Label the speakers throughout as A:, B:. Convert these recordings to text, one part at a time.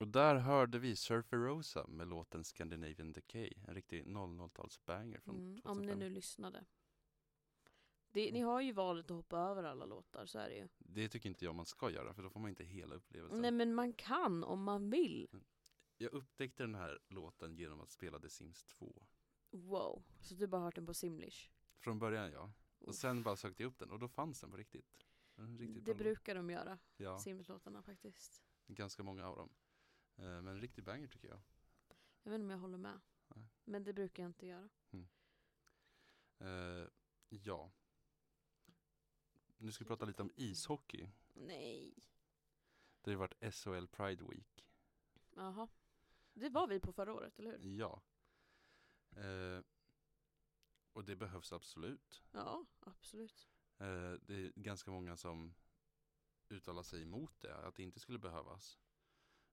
A: Och där hörde vi Surfer Rosa med låten Scandinavian Decay, en riktig 00-talsbanger från
B: Mm,
A: 2005.
B: om ni nu lyssnade. Det, ni
A: Mm.
B: har ju valet att hoppa över alla låtar, så är det ju.
A: Det tycker inte jag man ska göra, för då får man inte hela upplevelsen.
B: Nej men man kan om man vill.
A: Jag upptäckte den här låten genom att spela The Sims 2.
B: Wow. Så du bara hört den på simlish?
A: Från början ja. Och
B: Uff.
A: sen bara sökte jag upp den och då fanns den på riktigt. En riktigt bra
B: det
A: låt.
B: brukar de göra,
A: Ja,
B: simlåtarna faktiskt.
A: ganska många av dem. Eh, Men en riktig banger tycker jag.
B: Jag vet inte om jag håller med.
A: Nej.
B: Men det brukar jag inte göra.
A: Eh, Ja. Nu ska vi prata lite om ishockey.
B: Nej.
A: Det har ju varit SHL Pride Week.
B: Jaha. Det var vi på förra året, eller hur?
A: Ja. Eh, Och det behövs absolut.
B: Ja, absolut.
A: Eh, Det är ganska många som uttalar sig emot det, att det inte skulle behövas.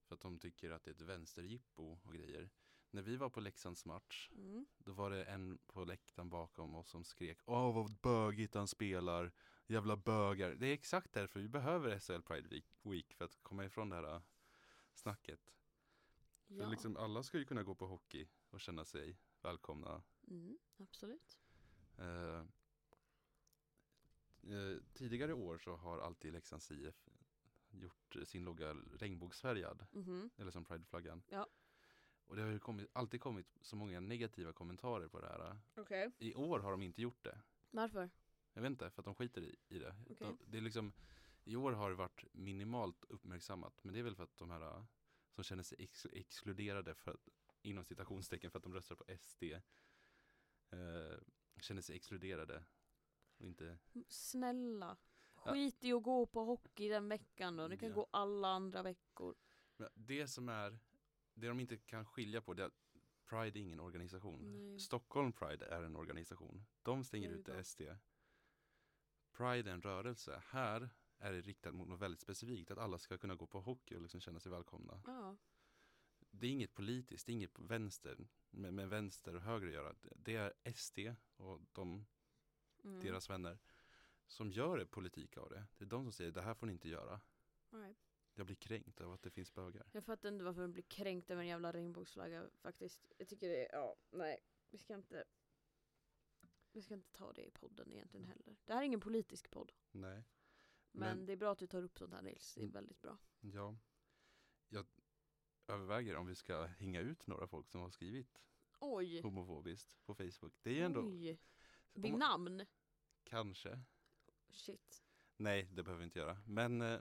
A: För att de tycker att det är ett vänsterjippo och grejer. När vi var på Leksands match,
B: Mm.
A: då var det en på läktaren bakom oss som skrek Åh vad bögigt han spelar, jävla bögar. Det är exakt därför vi behöver SHL Pride Week- Week för att komma ifrån det här äh, snacket.
B: Ja.
A: För liksom alla ska ju kunna gå på hockey och känna sig välkomna
B: Mm, absolut.
A: Eh, eh, tidigare år så har alltid Leksands IF gjort eh, sin logga regnbågsfärgad,
B: Mhm.
A: eller som prideflaggan.
B: Ja.
A: Och det har ju kommit, alltid kommit så många negativa kommentarer på det här.
B: Okej.
A: I år har de inte gjort det.
B: Varför?
A: Jag vet inte, för att de skiter i, i det.
B: Okej.
A: De, det är liksom, I år har det varit minimalt uppmärksammat, men det är väl för att de här eh, som känner sig ex- exkluderade för att, inom citationstecken för att de röstar på SD eh, känner sig exkluderade. Och inte,
B: M- Snälla.
A: Ja.
B: Skit i att gå på hockey den veckan då. Ni kan
A: Ja.
B: gå alla andra veckor.
A: men det som är, det de inte kan skilja på det är att Pride är ingen organisation.
B: Nej.
A: Stockholm Pride är en organisation. De stänger
B: Där vi
A: ute
B: var.
A: SD. Pride är en rörelse. Här är det riktat mot något väldigt specifikt, att alla ska kunna gå på hockey och liksom känna sig välkomna.
B: Ja.
A: Det är inget politiskt, det är inget vänster med, med vänster och höger att göra. Det är SD och de,
B: Mm.
A: deras vänner som gör det politik av det. Det är de som säger det här får ni inte göra.
B: Nej.
A: Jag blir kränkt av att det finns bögar.
B: Jag fattar inte varför man blir kränkt över en jävla regnbågsflagga faktiskt. Jag tycker det är, ja, nej. Vi ska inte vi ska inte ta det i podden egentligen heller. Det här är ingen politisk podd.
A: Nej.
B: Men,
A: Men-
B: det är bra att du tar upp sånt här Nils. Det är
A: Mm.
B: väldigt bra.
A: Ja. Jag överväger om vi ska hänga ut några folk som har skrivit
B: Oj!
A: homofobiskt på Facebook. Det är ju ändå
B: Oj!
A: om
B: Vid
A: man-
B: namn?
A: Kanske.
B: Shit.
A: Nej, det behöver vi inte göra. Men eh,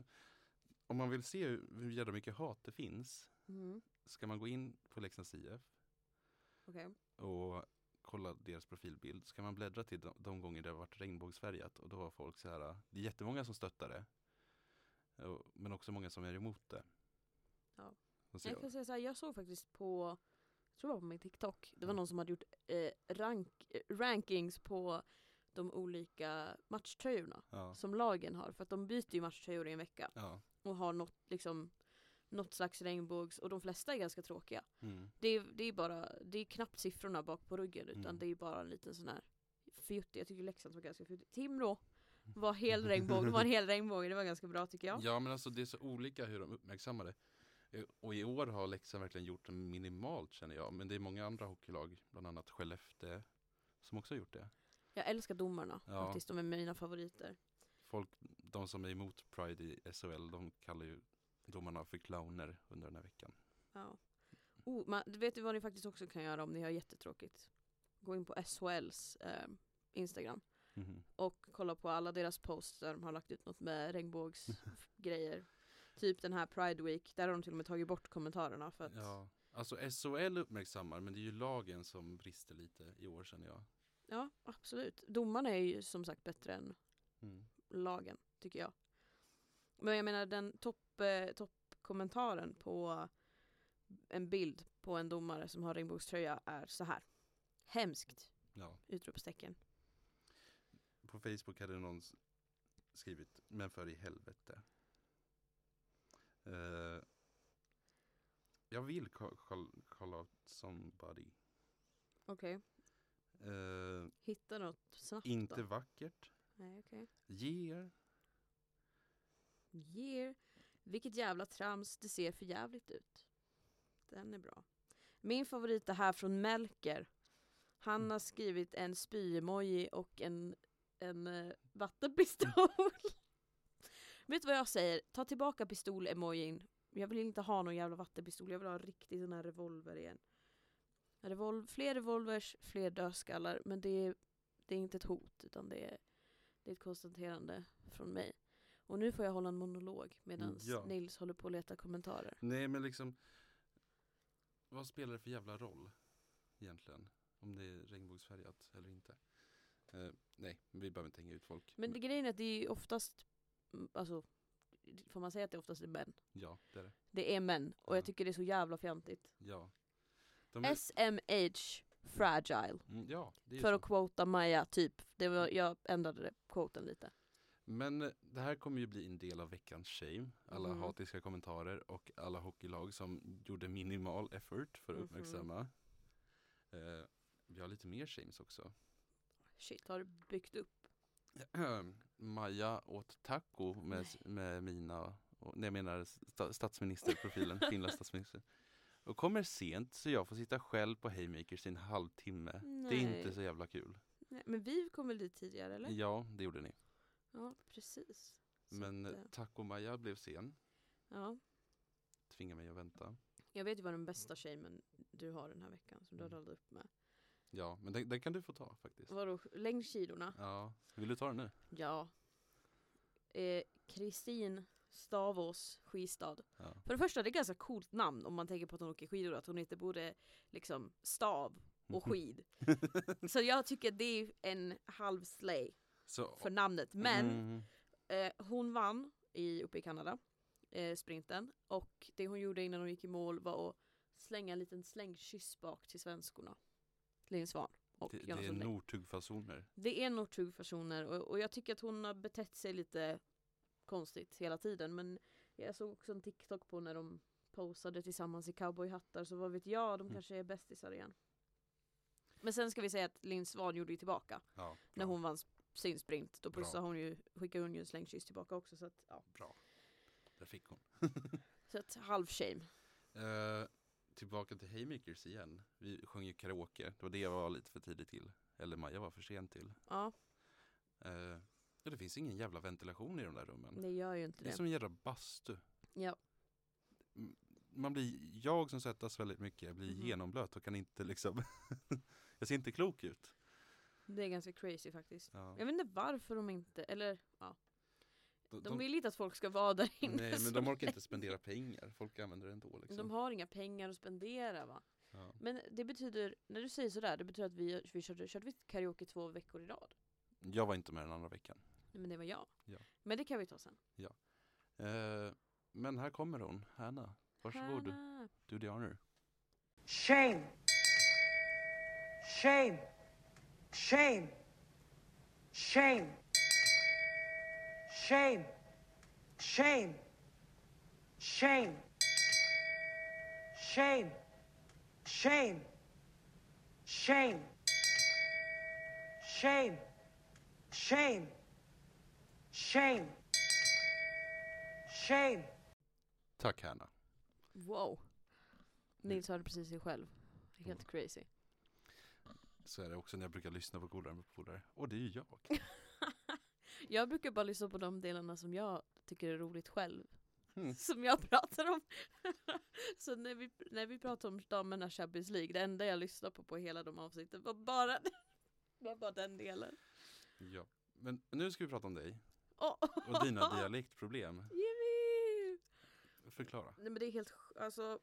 A: om man vill se hur, hur jävla mycket hat det finns
B: Mm.
A: ska man gå in på Leksands IF
B: Okej.
A: och kolla deras profilbild. Så kan man bläddra till de, de gånger det har varit regnbågsfärgat och då har folk så här, det är jättemånga som stöttar det. Och- Men också många som är emot det.
B: Ja.
A: Och så-
B: Jag kan säga så här, jag såg faktiskt på, jag tror det var på min TikTok,
A: Mm.
B: det var någon som hade gjort eh, rank, eh, rankings på de olika matchtröjorna
A: ja.
B: som lagen har. För att de byter ju matchtröjor i en vecka
A: ja.
B: och har något, liksom, något slags regnbågs och de flesta är ganska tråkiga.
A: Mm.
B: Det är, det är, bara, det är knappt siffrorna bak på ryggen utan
A: Mm.
B: det är bara en liten sån här fjuttig, jag tycker Leksand var ganska fjuttig. Timrå var hel regnbåge, det var en hel regnbåge, det var ganska bra tycker jag.
A: Mm. Ja men alltså det är så olika hur de uppmärksammar det. Eh, Och i år har Leksand verkligen gjort det minimalt känner jag. Men det är många andra hockeylag, bland annat Skellefteå, som också har gjort det.
B: Jag älskar domarna
A: Ja.
B: faktiskt, de är mina favoriter.
A: Folk, de som är emot Pride i SHL, de kallar ju domarna för clowner under den här veckan.
B: Ja. Oh, man, vet du vad ni faktiskt också kan göra om ni har jättetråkigt? Gå in på SHLs eh, Instagram
A: Mhm.
B: och kolla på alla deras posts där de har lagt ut något med regnbågsgrejer. typ den här Pride Week, där har de till och med tagit bort kommentarerna för att ja.
A: Ja. Alltså SHL uppmärksammar, men det är ju lagen som brister lite i år känner jag.
B: absolut. Domarna är ju som sagt bättre än
A: Mm.
B: lagen, tycker jag. Men jag menar den topp, eh, toppkommentaren på en bild på en domare som har regnbågströja är så här. Hemskt!
A: Ja.
B: Utropstecken.
A: På Facebook hade någon s- skrivit Men för i helvete. Eh, jag vill ca- call, call out somebody.
B: Okej.
A: Eh,
B: Hitta något snabbt
A: inte
B: då.
A: vackert.
B: Nej, okej.
A: Ger.
B: Year. Vilket jävla trams, det ser för jävligt ut. Den är bra. Min favorit är här från Melker. Han
A: Mm.
B: har skrivit en spy-emoji och en, en eh, vattenpistol. Vet du vad jag säger? Ta tillbaka pistol-emojin. Jag vill inte ha någon jävla vattenpistol, jag vill ha en riktig sån här revolver igen. Revol- fler revolvers, fler dödskallar, men det är, det är inte ett hot utan det är, det är ett konstaterande från mig. Och nu får jag hålla en monolog medan
A: Ja.
B: Nils håller på att leta kommentarer.
A: Nej men liksom Vad spelar det för jävla roll egentligen? Om det är regnbågsfärgat eller inte? Eh, nej, vi behöver inte hänga ut folk.
B: Men det, grejen är att det är ju oftast, mm, alltså, får man säga att det oftast är män?
A: Ja, det är det.
B: Det är män, och jag
A: Ja.
B: tycker det är så jävla fjantigt.
A: Ja. De är,
B: SMH fragile.
A: mm, ja, det är ju
B: För
A: så. Mm.
B: att quota Maja, typ. Det var, jag ändrade det, quoten lite.
A: Men eh, det här kommer ju bli en del av veckans shame. Alla
B: Mhm.
A: hatiska kommentarer och alla hockeylag som gjorde minimal effort för att
B: Mhm.
A: uppmärksamma. Eh, vi har lite mer shames också.
B: Shit, har du byggt upp?
A: Maja åt taco med, med mina, och, nej jag menar sta, statsministerprofilen, Finlands statsminister. Och kommer sent så jag får sitta själv på Haymakers i en halvtimme. Det är inte
B: Nej.
A: så jävla kul.
B: Nej, men vi kom väl dit tidigare eller?
A: Ja, det gjorde ni.
B: Ja, precis. Så
A: Men
B: att,
A: eh,
B: eh,
A: taco-Maja blev sen,
B: ja.
A: tvingade mig att vänta.
B: Jag vet ju vad den bästa shamen du har den här veckan som du har
A: Mm.
B: radat upp med.
A: Ja, men den, den kan du få ta faktiskt.
B: Vadå, längd kilorna?
A: Ja, vill du ta den nu?
B: Ja. Eh, Kristin Stavås Skistad.
A: Ja.
B: För det första, det är ett ganska coolt namn om man tänker på att hon åker skidor, att hon inte borde liksom stav och skid. Så jag tycker det är en halv slay
A: Så,
B: för namnet. Men
A: Mm,
B: eh, hon vann i, uppe i Kanada, eh, sprinten. Och det hon gjorde innan hon gick i mål var att slänga en liten slängkyss bak till svenskorna. Linn Svahn och
A: det, det
B: Jonas
A: är
B: Sundin.
A: Northug-fasoner.
B: Det är Northug personer och, och jag tycker att hon har betett sig lite konstigt hela tiden. Men jag såg också en TikTok på när de posade tillsammans i cowboyhattar så vad vet jag, de
A: Mm.
B: kanske är bästisar igen. Men sen ska vi säga att Linn Svan gjorde ju tillbaka
A: Ja,
B: när
A: bra,
B: hon vann sin sprint. Då
A: Bra.
B: pussade hon ju, skickade hon ju en slängkyss tillbaka också så att ja.
A: Bra. Där fick hon.
B: Så att halv shame.
A: Eh, tillbaka till Haymakers igen. Vi sjöng ju karaoke. Det var det jag var lite för tidigt till. Eller Maja var för sen till.
B: Ja,
A: Eh, ja, det finns ingen jävla ventilation i de där rummen.
B: det gör ju inte
A: det är
B: det.
A: som en jävla bastu.
B: Ja.
A: M- Man blir, jag som svettas väldigt mycket, jag blir
B: Mhm.
A: genomblöt och kan inte liksom Jag ser inte klok ut.
B: Det är ganska crazy faktiskt.
A: Ja.
B: Jag vet inte varför de inte, eller ja.
A: De-
B: De vill inte att folk ska vara där inne
A: Nej,
B: så
A: men de orkar inte spendera pengar. Folk använder det ändå. Liksom.
B: De har inga pengar att spendera va?
A: ja.
B: Men det betyder, när du säger sådär, det betyder att vi, vi körde, körde vi karaoke två veckor i rad?
A: Jag var inte med den andra veckan.
B: Nej men det var jag.
A: Ja.
B: Men det kan vi ta sen.
A: Eh, men här kommer hon, Hanna. Varsågod,
B: Hanna.
A: do the honor.
C: Shame. Shame. Shame. Shame. Shame. Shame. Shame. Shame. Shame. Shame. Shame. Shame. Shame. Shame.
A: Tack Hanna.
B: Wow. Nils hörde precis sig själv. Helt crazy.
A: Så är det också när jag brukar lyssna på Godare med polare. Och det är ju jag.
B: Jag brukar bara lyssna på de delarna som jag tycker är roligt själv.
A: Mm.
B: Som jag pratar om. Så när vi, när vi pratar om damerna Champions League, det enda jag lyssnar på på hela de avsnitten var bara, var bara den delen.
A: ja. Men nu ska vi prata om dig
B: Åh.
A: och dina dialektproblem.
B: Jimmy!
A: Förklara.
B: Nej men det är helt sj- alltså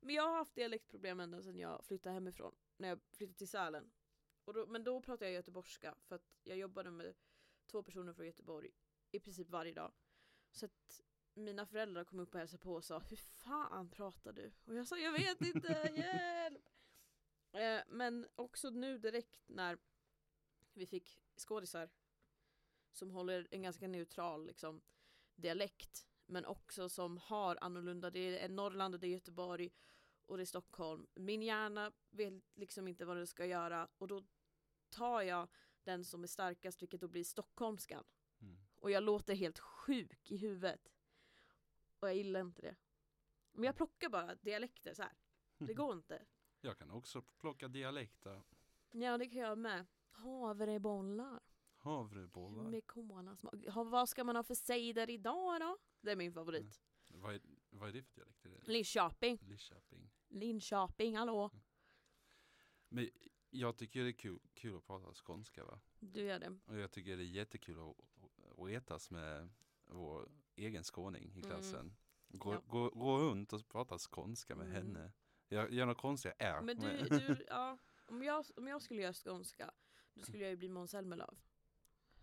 B: Men jag har haft dialektproblem ända sedan jag flyttade hemifrån När jag flyttade till Sälen och då, Men då pratade jag göteborgska för att jag jobbade med två personer från Göteborg I princip varje dag Så att mina föräldrar kom upp och hälsade på och sa Hur fan pratar du? Och jag sa jag vet inte, hjälp! Eh, men också nu direkt när vi fick skådisar som håller en ganska neutral liksom, dialekt men också som har annorlunda, det är Norrland och det är Göteborg och det är Stockholm. Min hjärna vet liksom inte vad den ska göra och då tar jag den som är starkast vilket då blir stockholmskan.
A: Mm.
B: Och jag låter helt sjuk i huvudet. Och jag gillar inte det. Men jag plockar bara dialekter så här. Det går inte.
A: Jag kan också plocka dialekter.
B: Ja, det kan jag med. Havrebollar
A: Havrebollar.
B: med kolasmak. Ha, vad ska man ha för cider idag då? Det är min favorit.
A: Vad är, vad är det för dialekt? Är det
B: Linköping.
A: Lidköping?
B: Linköping, hallå.
A: Men jag tycker det är kul, kul att prata skånska va?
B: Du gör det.
A: Och jag tycker det är jättekul att, att etas med vår egen skåning i
B: Mm.
A: klassen. Gå,
B: Ja.
A: gå, gå runt och prata skånska med
B: Mm.
A: henne. Jag gör något konstigt är.
B: Men du, du ja, om, jag, om jag skulle göra skånska, då skulle jag ju bli Måns Zelmerlöw.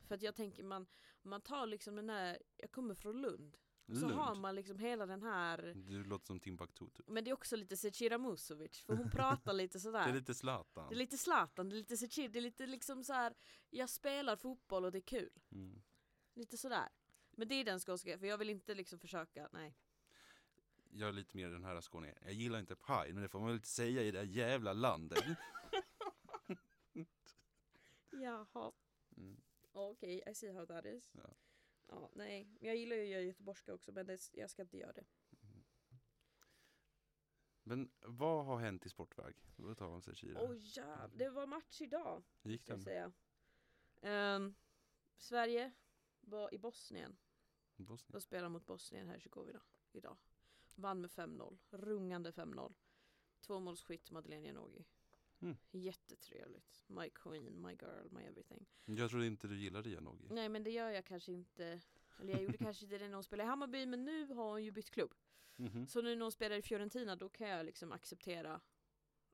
B: För att jag tänker man, man tar liksom den här, jag kommer från Lund, så har man liksom hela den här
A: Du låter som Timbuktu. typ.
B: Men det är också lite Zecira Musovic, för hon pratar lite sådär
A: Det är lite Zlatan.
B: Det är lite Zlatan, det är lite Zecira, det är lite liksom så här. Jag spelar fotboll och det är kul,
A: Mm.
B: lite sådär Men det är den skånska, för jag vill inte liksom försöka, nej
A: Jag är lite mer den här skåningen. Jag gillar inte Pride, men det får man väl inte säga i det här jävla landet.
B: Jaha,
A: Mm.
B: okej, I see how that is
A: Ja.
B: Ja, nej, jag gillar ju att göra göteborgska också men det, jag ska inte göra det
A: Men vad har hänt i sportväg? Vad tar om sig Kira?
B: Åh jävlar, det var match idag
A: Gick
B: ska jag
A: den?
B: säga Ehm, Sverige var i Bosnien
A: Bosnien?
B: De spelar mot Bosnien Hercegovina idag. Vann med 5-0. Rungande 5-0. Tvåmålsskytt Madeleine Janogy.
A: Mm.
B: Jättetrevligt. My queen, my girl, my everything.
A: Jag trodde inte du gillade Janogy.
B: Nej men det gör jag kanske inte. Eller jag gjorde kanske inte det när hon spelade i Hammarby men nu har hon ju bytt klubb.
A: Mhm.
B: Så nu när hon spelar i Fiorentina då kan jag liksom acceptera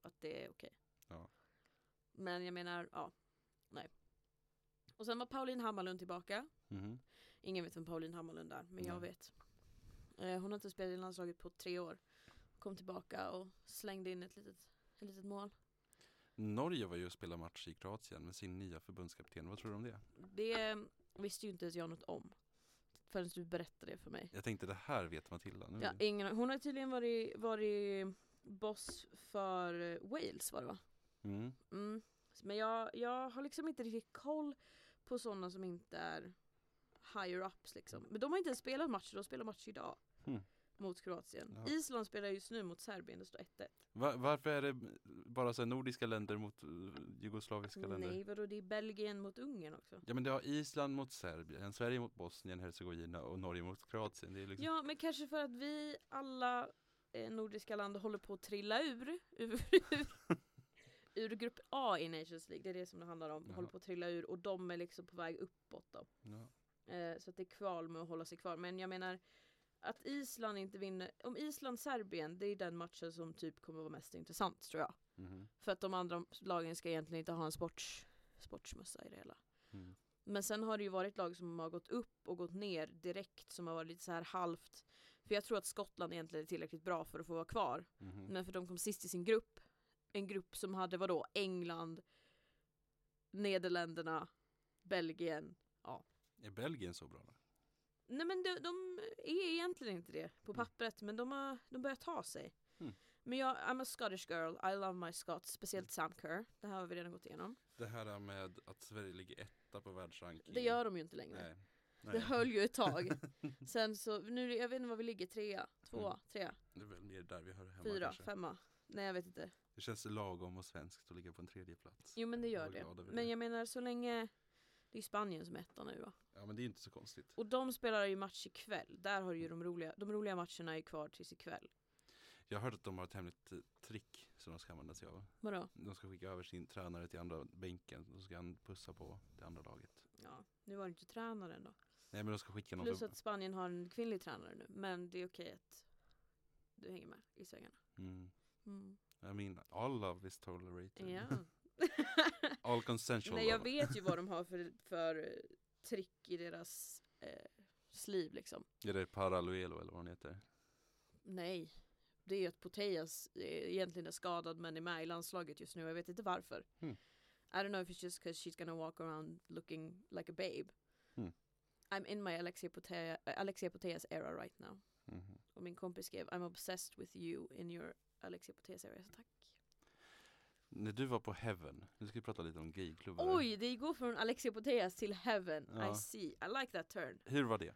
B: att det är okej.
A: Ja.
B: Men jag menar, ja. Nej. Och sen var Pauline Hammarlund tillbaka.
A: Mhm.
B: Ingen vet vem Pauline Hammarlund är, men jag
A: Nej.
B: vet. Eh, hon har inte spelat i landslaget på tre år. Kom tillbaka och slängde in ett litet, ett litet mål.
A: Norge var ju och spelade match i Kroatien med sin nya förbundskapten. Vad tror du om det?
B: Det visste ju inte ens jag något om. Förrän du berättade det för mig.
A: Jag tänkte det här vet Matilda nu.
B: Ja, ingen, hon har tydligen varit, varit boss för eh, Wales var det va?
A: Mm.
B: Mm. Men jag, jag har liksom inte riktigt koll på sådana som inte är higher ups liksom. Men de har inte ens spelat matcher, de spelar match idag.
A: Hmm.
B: Mot Kroatien.
A: Ja.
B: Island spelar just nu mot Serbien, det står 1-1.
A: Va- varför är det bara så här nordiska länder mot eh, jugoslaviska länder?
B: Nej vadå, det är Belgien mot Ungern också.
A: Ja men det har Island mot Serbien, Sverige mot Bosnien, Hercegovina och Norge mot Kroatien. Det är liksom...
B: Ja men kanske för att vi alla eh, nordiska länder håller på att trilla ur ur, ur grupp A i Nations League. Det är det som det handlar om.
A: Jaha.
B: Håller på att trilla ur och de är liksom på väg uppåt då.
A: Ja.
B: Eh, så att det är kval med att hålla sig kvar. Men jag menar att Island inte vinner. Om Island-Serbien, det är den matchen som typ kommer vara mest intressant tror jag.
A: Mhm.
B: För att de andra lagen ska egentligen inte ha en sports, sportsmössa i det hela.
A: Mm.
B: Men sen har det ju varit lag som har gått upp och gått ner direkt som har varit lite så här halvt. För jag tror att Skottland egentligen är tillräckligt bra för att få vara kvar.
A: Mhm.
B: Men för de kom sist i sin grupp. En grupp som hade vadå? England, Nederländerna, Belgien.
A: Är Belgien så bra då?
B: Nej men de, de är egentligen inte det på
A: Mm.
B: pappret men de, har, de börjar ta sig.
A: Mm.
B: Men jag, I'm a Scottish girl, I love my Scots, speciellt
A: Mm.
B: Sam Kerr. Det här har vi redan gått igenom.
A: Det här med att Sverige ligger etta på världsrankingen.
B: Det gör de ju inte längre.
A: Nej. Nej.
B: Det höll ju ett tag. Sen så, nu, jag vet inte var vi ligger, trea, tvåa,
A: Mm.
B: trea,
A: Det är väl mer där vi hör hemma
B: fyra,
A: kanske.
B: femma. Nej jag vet inte.
A: Det känns lagom och svenskt att ligga på en tredje plats.
B: Jo men det gör
A: Jag är
B: det.
A: glad över
B: Men
A: det.
B: jag menar så länge det är Spanien som är etta nu va.
A: Ja men det är inte så konstigt.
B: Och de spelar ju match ikväll. Där har
A: Mm.
B: ju de roliga, de roliga matcherna är kvar tills ikväll.
A: Jag har hört att de har ett hemligt eh, trick som de ska använda sig av.
B: Vadå?
A: De ska skicka över sin tränare till andra bänken och så ska han pussa på det andra laget.
B: Ja, nu var det inte tränaren då.
A: Nej men de ska skicka någon
B: Plus
A: som...
B: att Spanien har en kvinnlig tränare nu. Men det är okej att du hänger med i svängarna.
A: Mm.
B: Mm.
A: I mean, all love is tolerated.
B: Ja.
A: All consensual
B: Nej jag
A: love.
B: vet ju vad de har för, för eh, trick i deras eh, sleeve liksom.
A: Är det Paraloelo eller vad hon heter?
B: Nej. Det är ju att Poteas eh, egentligen är skadad men är med i landslaget just nu jag vet inte varför.
A: Hmm.
B: I don't know if it's just because she's gonna walk around looking like a babe.
A: Hmm.
B: I'm in my Alexia, Potea, Alexia Poteas era right now.
A: Mhm.
B: Och min kompis skrev I'm obsessed with you in your Alexia Poteas era. Jag sa, Tack.
A: När du var på Heaven, nu ska vi prata lite om gayklubbar.
B: Oj, det går från Alexia Poteas till Heaven.
A: Ja.
B: I see, I like that turn.
A: Hur var det?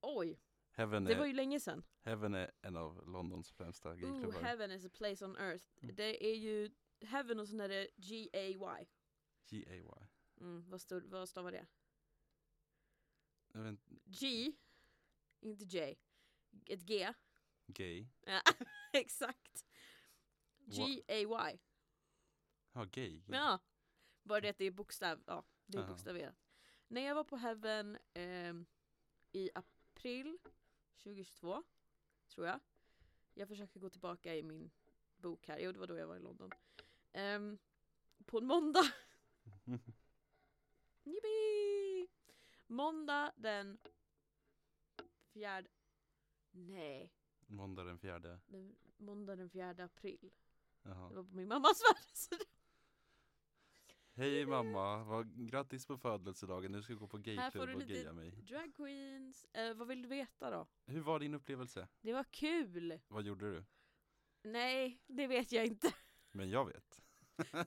B: Oj,
A: Heaven
B: Det var
A: är,
B: ju länge sedan.
A: Heaven är en av Londons främsta
B: Ooh,
A: gayklubbar.
B: heaven is a place on earth.
A: Mm.
B: Det är ju heaven och sen är det G-A-Y.
A: G-A-Y.
B: Mm, vad, stod, vad stavar det?
A: Jag vet inte,
B: G, inte J. Ett G.
A: Gay.
B: Ja, exakt. G-A-Y.
A: Ja, gay.
B: Ja. Bara det att det är bokstav, ja det är
A: Ja.
B: bokstaverat. När jag var på Heaven ehm, i april 2022, tror jag. Jag försöker gå tillbaka i min bok här, jo det var då jag var i London. Ehm, på en måndag Yippee! Måndag den fjärde... Nej,
A: Måndag den fjärde.
B: den, måndag den fjärde april. Det
A: Jaha.
B: var på min mammas födelsedag.
A: Hej mamma, vad, grattis på födelsedagen. Nu ska jag gå på
B: Här får
A: gayklubb
B: du
A: och
B: lite-
A: gaya mig.
B: Drag queens. Eh, vad vill du veta då?
A: Hur var din upplevelse?
B: Det var kul!
A: Vad gjorde du?
B: Nej, det vet jag inte.
A: Men jag vet.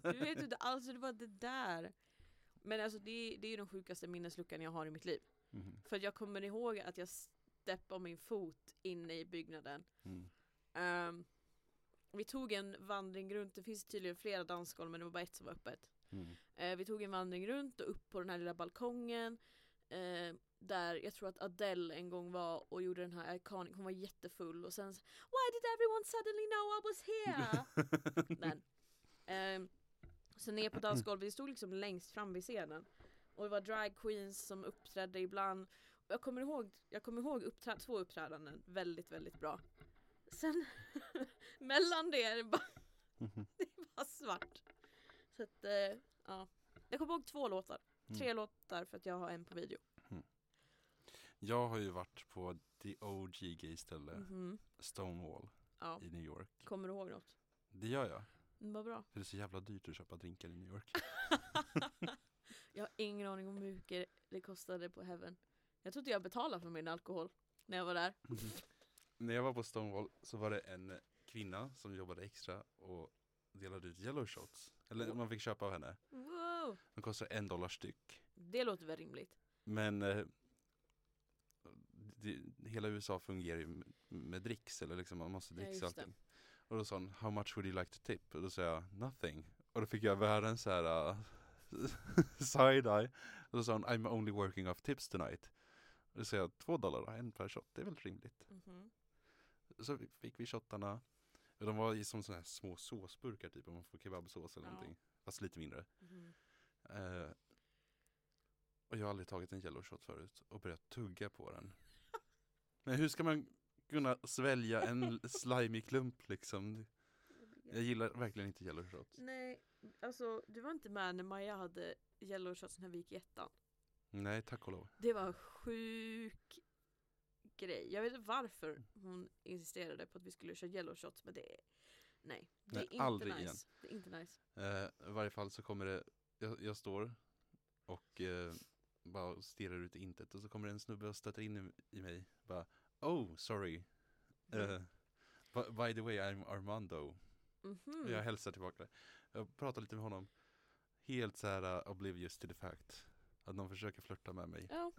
B: Du vet inte alls hur det var det där. Men alltså det, det är ju den sjukaste minnesluckan jag har i mitt liv.
A: Mhm.
B: För att jag kommer ihåg att jag steppade min fot inne i byggnaden
A: Mm.
B: Ehm, vi tog en vandring runt, det finns tydligen flera dansgolv men det var bara ett som var öppet.
A: Mm.
B: Eh, vi tog en vandring runt och upp på den här lilla balkongen. Eh, där jag tror att Adele en gång var och gjorde den här iconic, hon var jättefull och sen så, Why did everyone suddenly know I was here? den. Ehm, så ner på dansgolvet, vi stod liksom längst fram vid scenen. Och det var drag queens som uppträdde ibland. Och jag kommer ihåg, jag kommer ihåg uppträ- två uppträdanden väldigt, väldigt bra. Sen mellan det är det bara,
A: Mhm.
B: det är bara svart. Så att, eh, ja. Jag kommer ihåg två låtar. Tre låtar för att jag har en på video.
A: Jag har ju varit på the OG gay ställe,
B: Mhm.
A: Stonewall
B: Ja.
A: i New York.
B: Kommer du ihåg något?
A: Det gör jag,
B: Mm, Vad bra.
A: för det är så jävla dyrt att köpa drinkar i New York.
B: Jag har ingen aning om hur mycket det kostade på Heaven. Jag trodde jag betalade för min alkohol när jag var där.
A: När jag var på Stonewall så var det en kvinna som jobbade extra och delade ut yellow shots. Eller man fick köpa av henne.
B: Wow.
A: De kostar en dollar styck.
B: Det låter väl rimligt?
A: Men eh, det, hela USA fungerar ju med, med dricks, eller liksom man måste
B: Ja,
A: dricksa
B: just det.
A: allting. Och då sa hon, how much would you like to tip? Och då sa jag, nothing. Och då fick jag världens så här uh, side-eye. Och då sa hon, I'm only working off tips tonight. Och då sa jag, två dollar, då, en per shot, det är väl rimligt.
B: Mhm.
A: Så vi- fick vi shottarna. Och De var i som sådana här små såsburkar typ, om man får kebabsås eller
B: Ja.
A: någonting. Fast lite mindre.
B: Mhm.
A: Eh, och jag har aldrig tagit en yellow shot förut och börjat tugga på den. Men hur ska man kunna svälja en l- slimy klump liksom? Jag gillar verkligen inte yellow shots.
B: Nej, alltså du var inte med när Maja hade yellow shots när vi gick i ettan.
A: Nej, tack och lov.
B: Det var en sjuk grej. Jag vet inte
A: Mm.
B: varför hon insisterade på att vi skulle köra yellow shots men det är... Nej, det
A: Nej,
B: är inte
A: aldrig
B: nice.
A: igen.
B: Det är inte nice.
A: Eh, I varje fall så kommer det, jag, jag står och eh, bara stirrar ut i intet och så kommer det en snubbe och stöter in i, i mig. Bara, oh, sorry. Eh, bu- by the way, I'm Armando.
B: Mhm.
A: Jag hälsar tillbaka. Jag pratar lite med honom. Helt så här uh, oblivious to the fact. Att någon försöker flirta med mig.
B: Ja.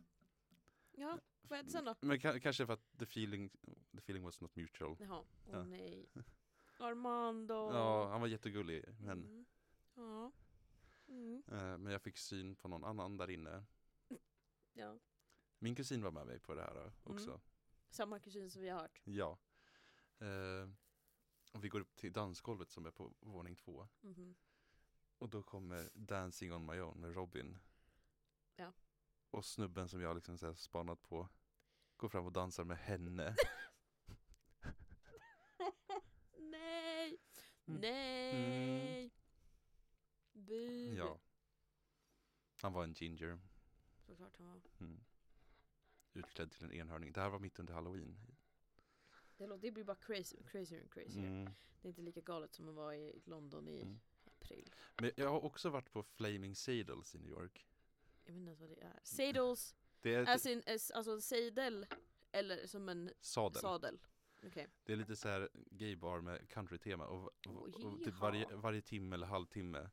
B: Ja, vad hände sen då?
A: Men ka- kanske för att the feeling, the feeling was not mutual.
B: Jaha, åh
A: Ja.
B: nej. Armando.
A: Ja, han var jättegullig. Men,
B: Mm. Ja. Mm.
A: eh, men jag fick syn på någon annan där inne.
B: ja.
A: Min kusin var med mig på det här
B: Mm.
A: uh, också.
B: Samma kusin som vi har hört.
A: Ja. Eh, och vi går upp till dansgolvet som är på våning två.
B: Mhm.
A: Och då kommer Dancing on my own med Robin.
B: Ja.
A: Och snubben som jag liksom så här spanat på går fram och dansar med henne.
B: Nej!
A: Mm.
B: Nej! Bu!
A: ja. Han var en ginger.
B: Såklart han var.
A: Mm. Utklädd till en enhörning. Det här var mitt under halloween.
B: Det, låter, det blir bara crazy, crazier and crazier.
A: Mm.
B: Det är inte lika galet som att vara i London i
A: Mm.
B: april.
A: Men jag har också varit på Flaming Saddles i New York.
B: Jag vet inte ens vad det är. Sadels,
A: Det är
B: as in, as, alltså en sadel, eller som en
A: sadel.
B: sadel. Okej.
A: Det är lite så här gaybar med countrytema och, och,
B: Åh,
A: och typ varje,
B: jaha.
A: varje timme eller halvtimme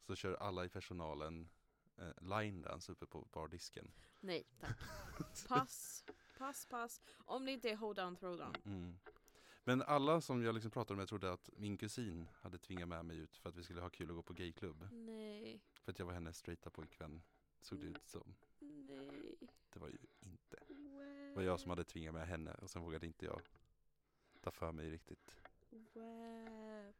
A: så kör alla i personalen eh, line dance uppe på bardisken.
B: Nej tack. Pass. pass, pass. Om det inte är hold down, throw down.
A: Mm. Men alla som jag liksom pratade med trodde att min kusin hade tvingat med mig ut för att vi skulle ha kul och gå på gayklubb.
B: Nej,
A: För att jag var hennes straighta pojkvän. Såg det
B: Mm.
A: ut som.
B: nej.
A: Det var ju inte. Det var jag som hade tvingat med henne och sen vågade inte jag ta för mig riktigt.
B: Wow.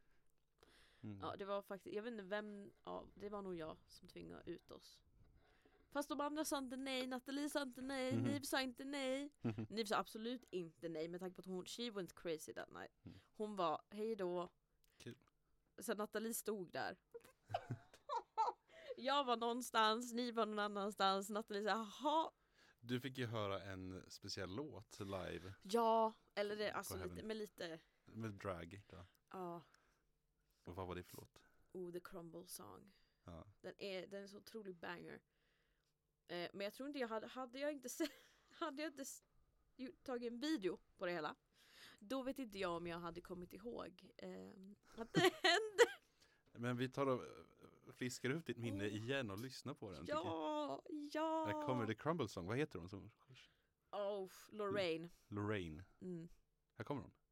A: Mm.
B: Ja, det var faktiskt, jag vet inte vem, ja, det var nog jag som tvingade ut oss. Fast de andra sa inte nej, Nathalie sa inte nej,
A: Mhm.
B: Niv sa inte nej. Niv sa absolut inte nej med tanke på att hon, she went crazy that night.
A: Mm.
B: Hon var, hej då.
A: Kul.
B: Sen Nathalie stod där. jag var någonstans, ni var någon annanstans, Nathalie sa jaha,
A: Du fick ju höra en speciell låt live
B: ja, eller det, alltså
A: På
B: lite,
A: heaven.
B: med lite,
A: med drag. Då.
B: ja,
A: Och vad var det för låt?
B: oh the crumble song.
A: Ja.
B: Den är, den är så otrolig banger. Eh, men jag tror inte jag hade, hade jag inte sett, hade jag inte s- gjort- tagit en video på det hela. Då vet inte jag om jag hade kommit ihåg eh, att det hände.
A: Men vi tar och eh, friskar upp ditt minne
B: Åh.
A: igen och lyssnar på den. tycker jag.
B: Oh. ja, ja.
A: Där kommer The Crumble Song. Vad heter hon? som-
B: Oh, Lorraine.
A: Lorraine.
B: Mm.
A: Här kommer hon.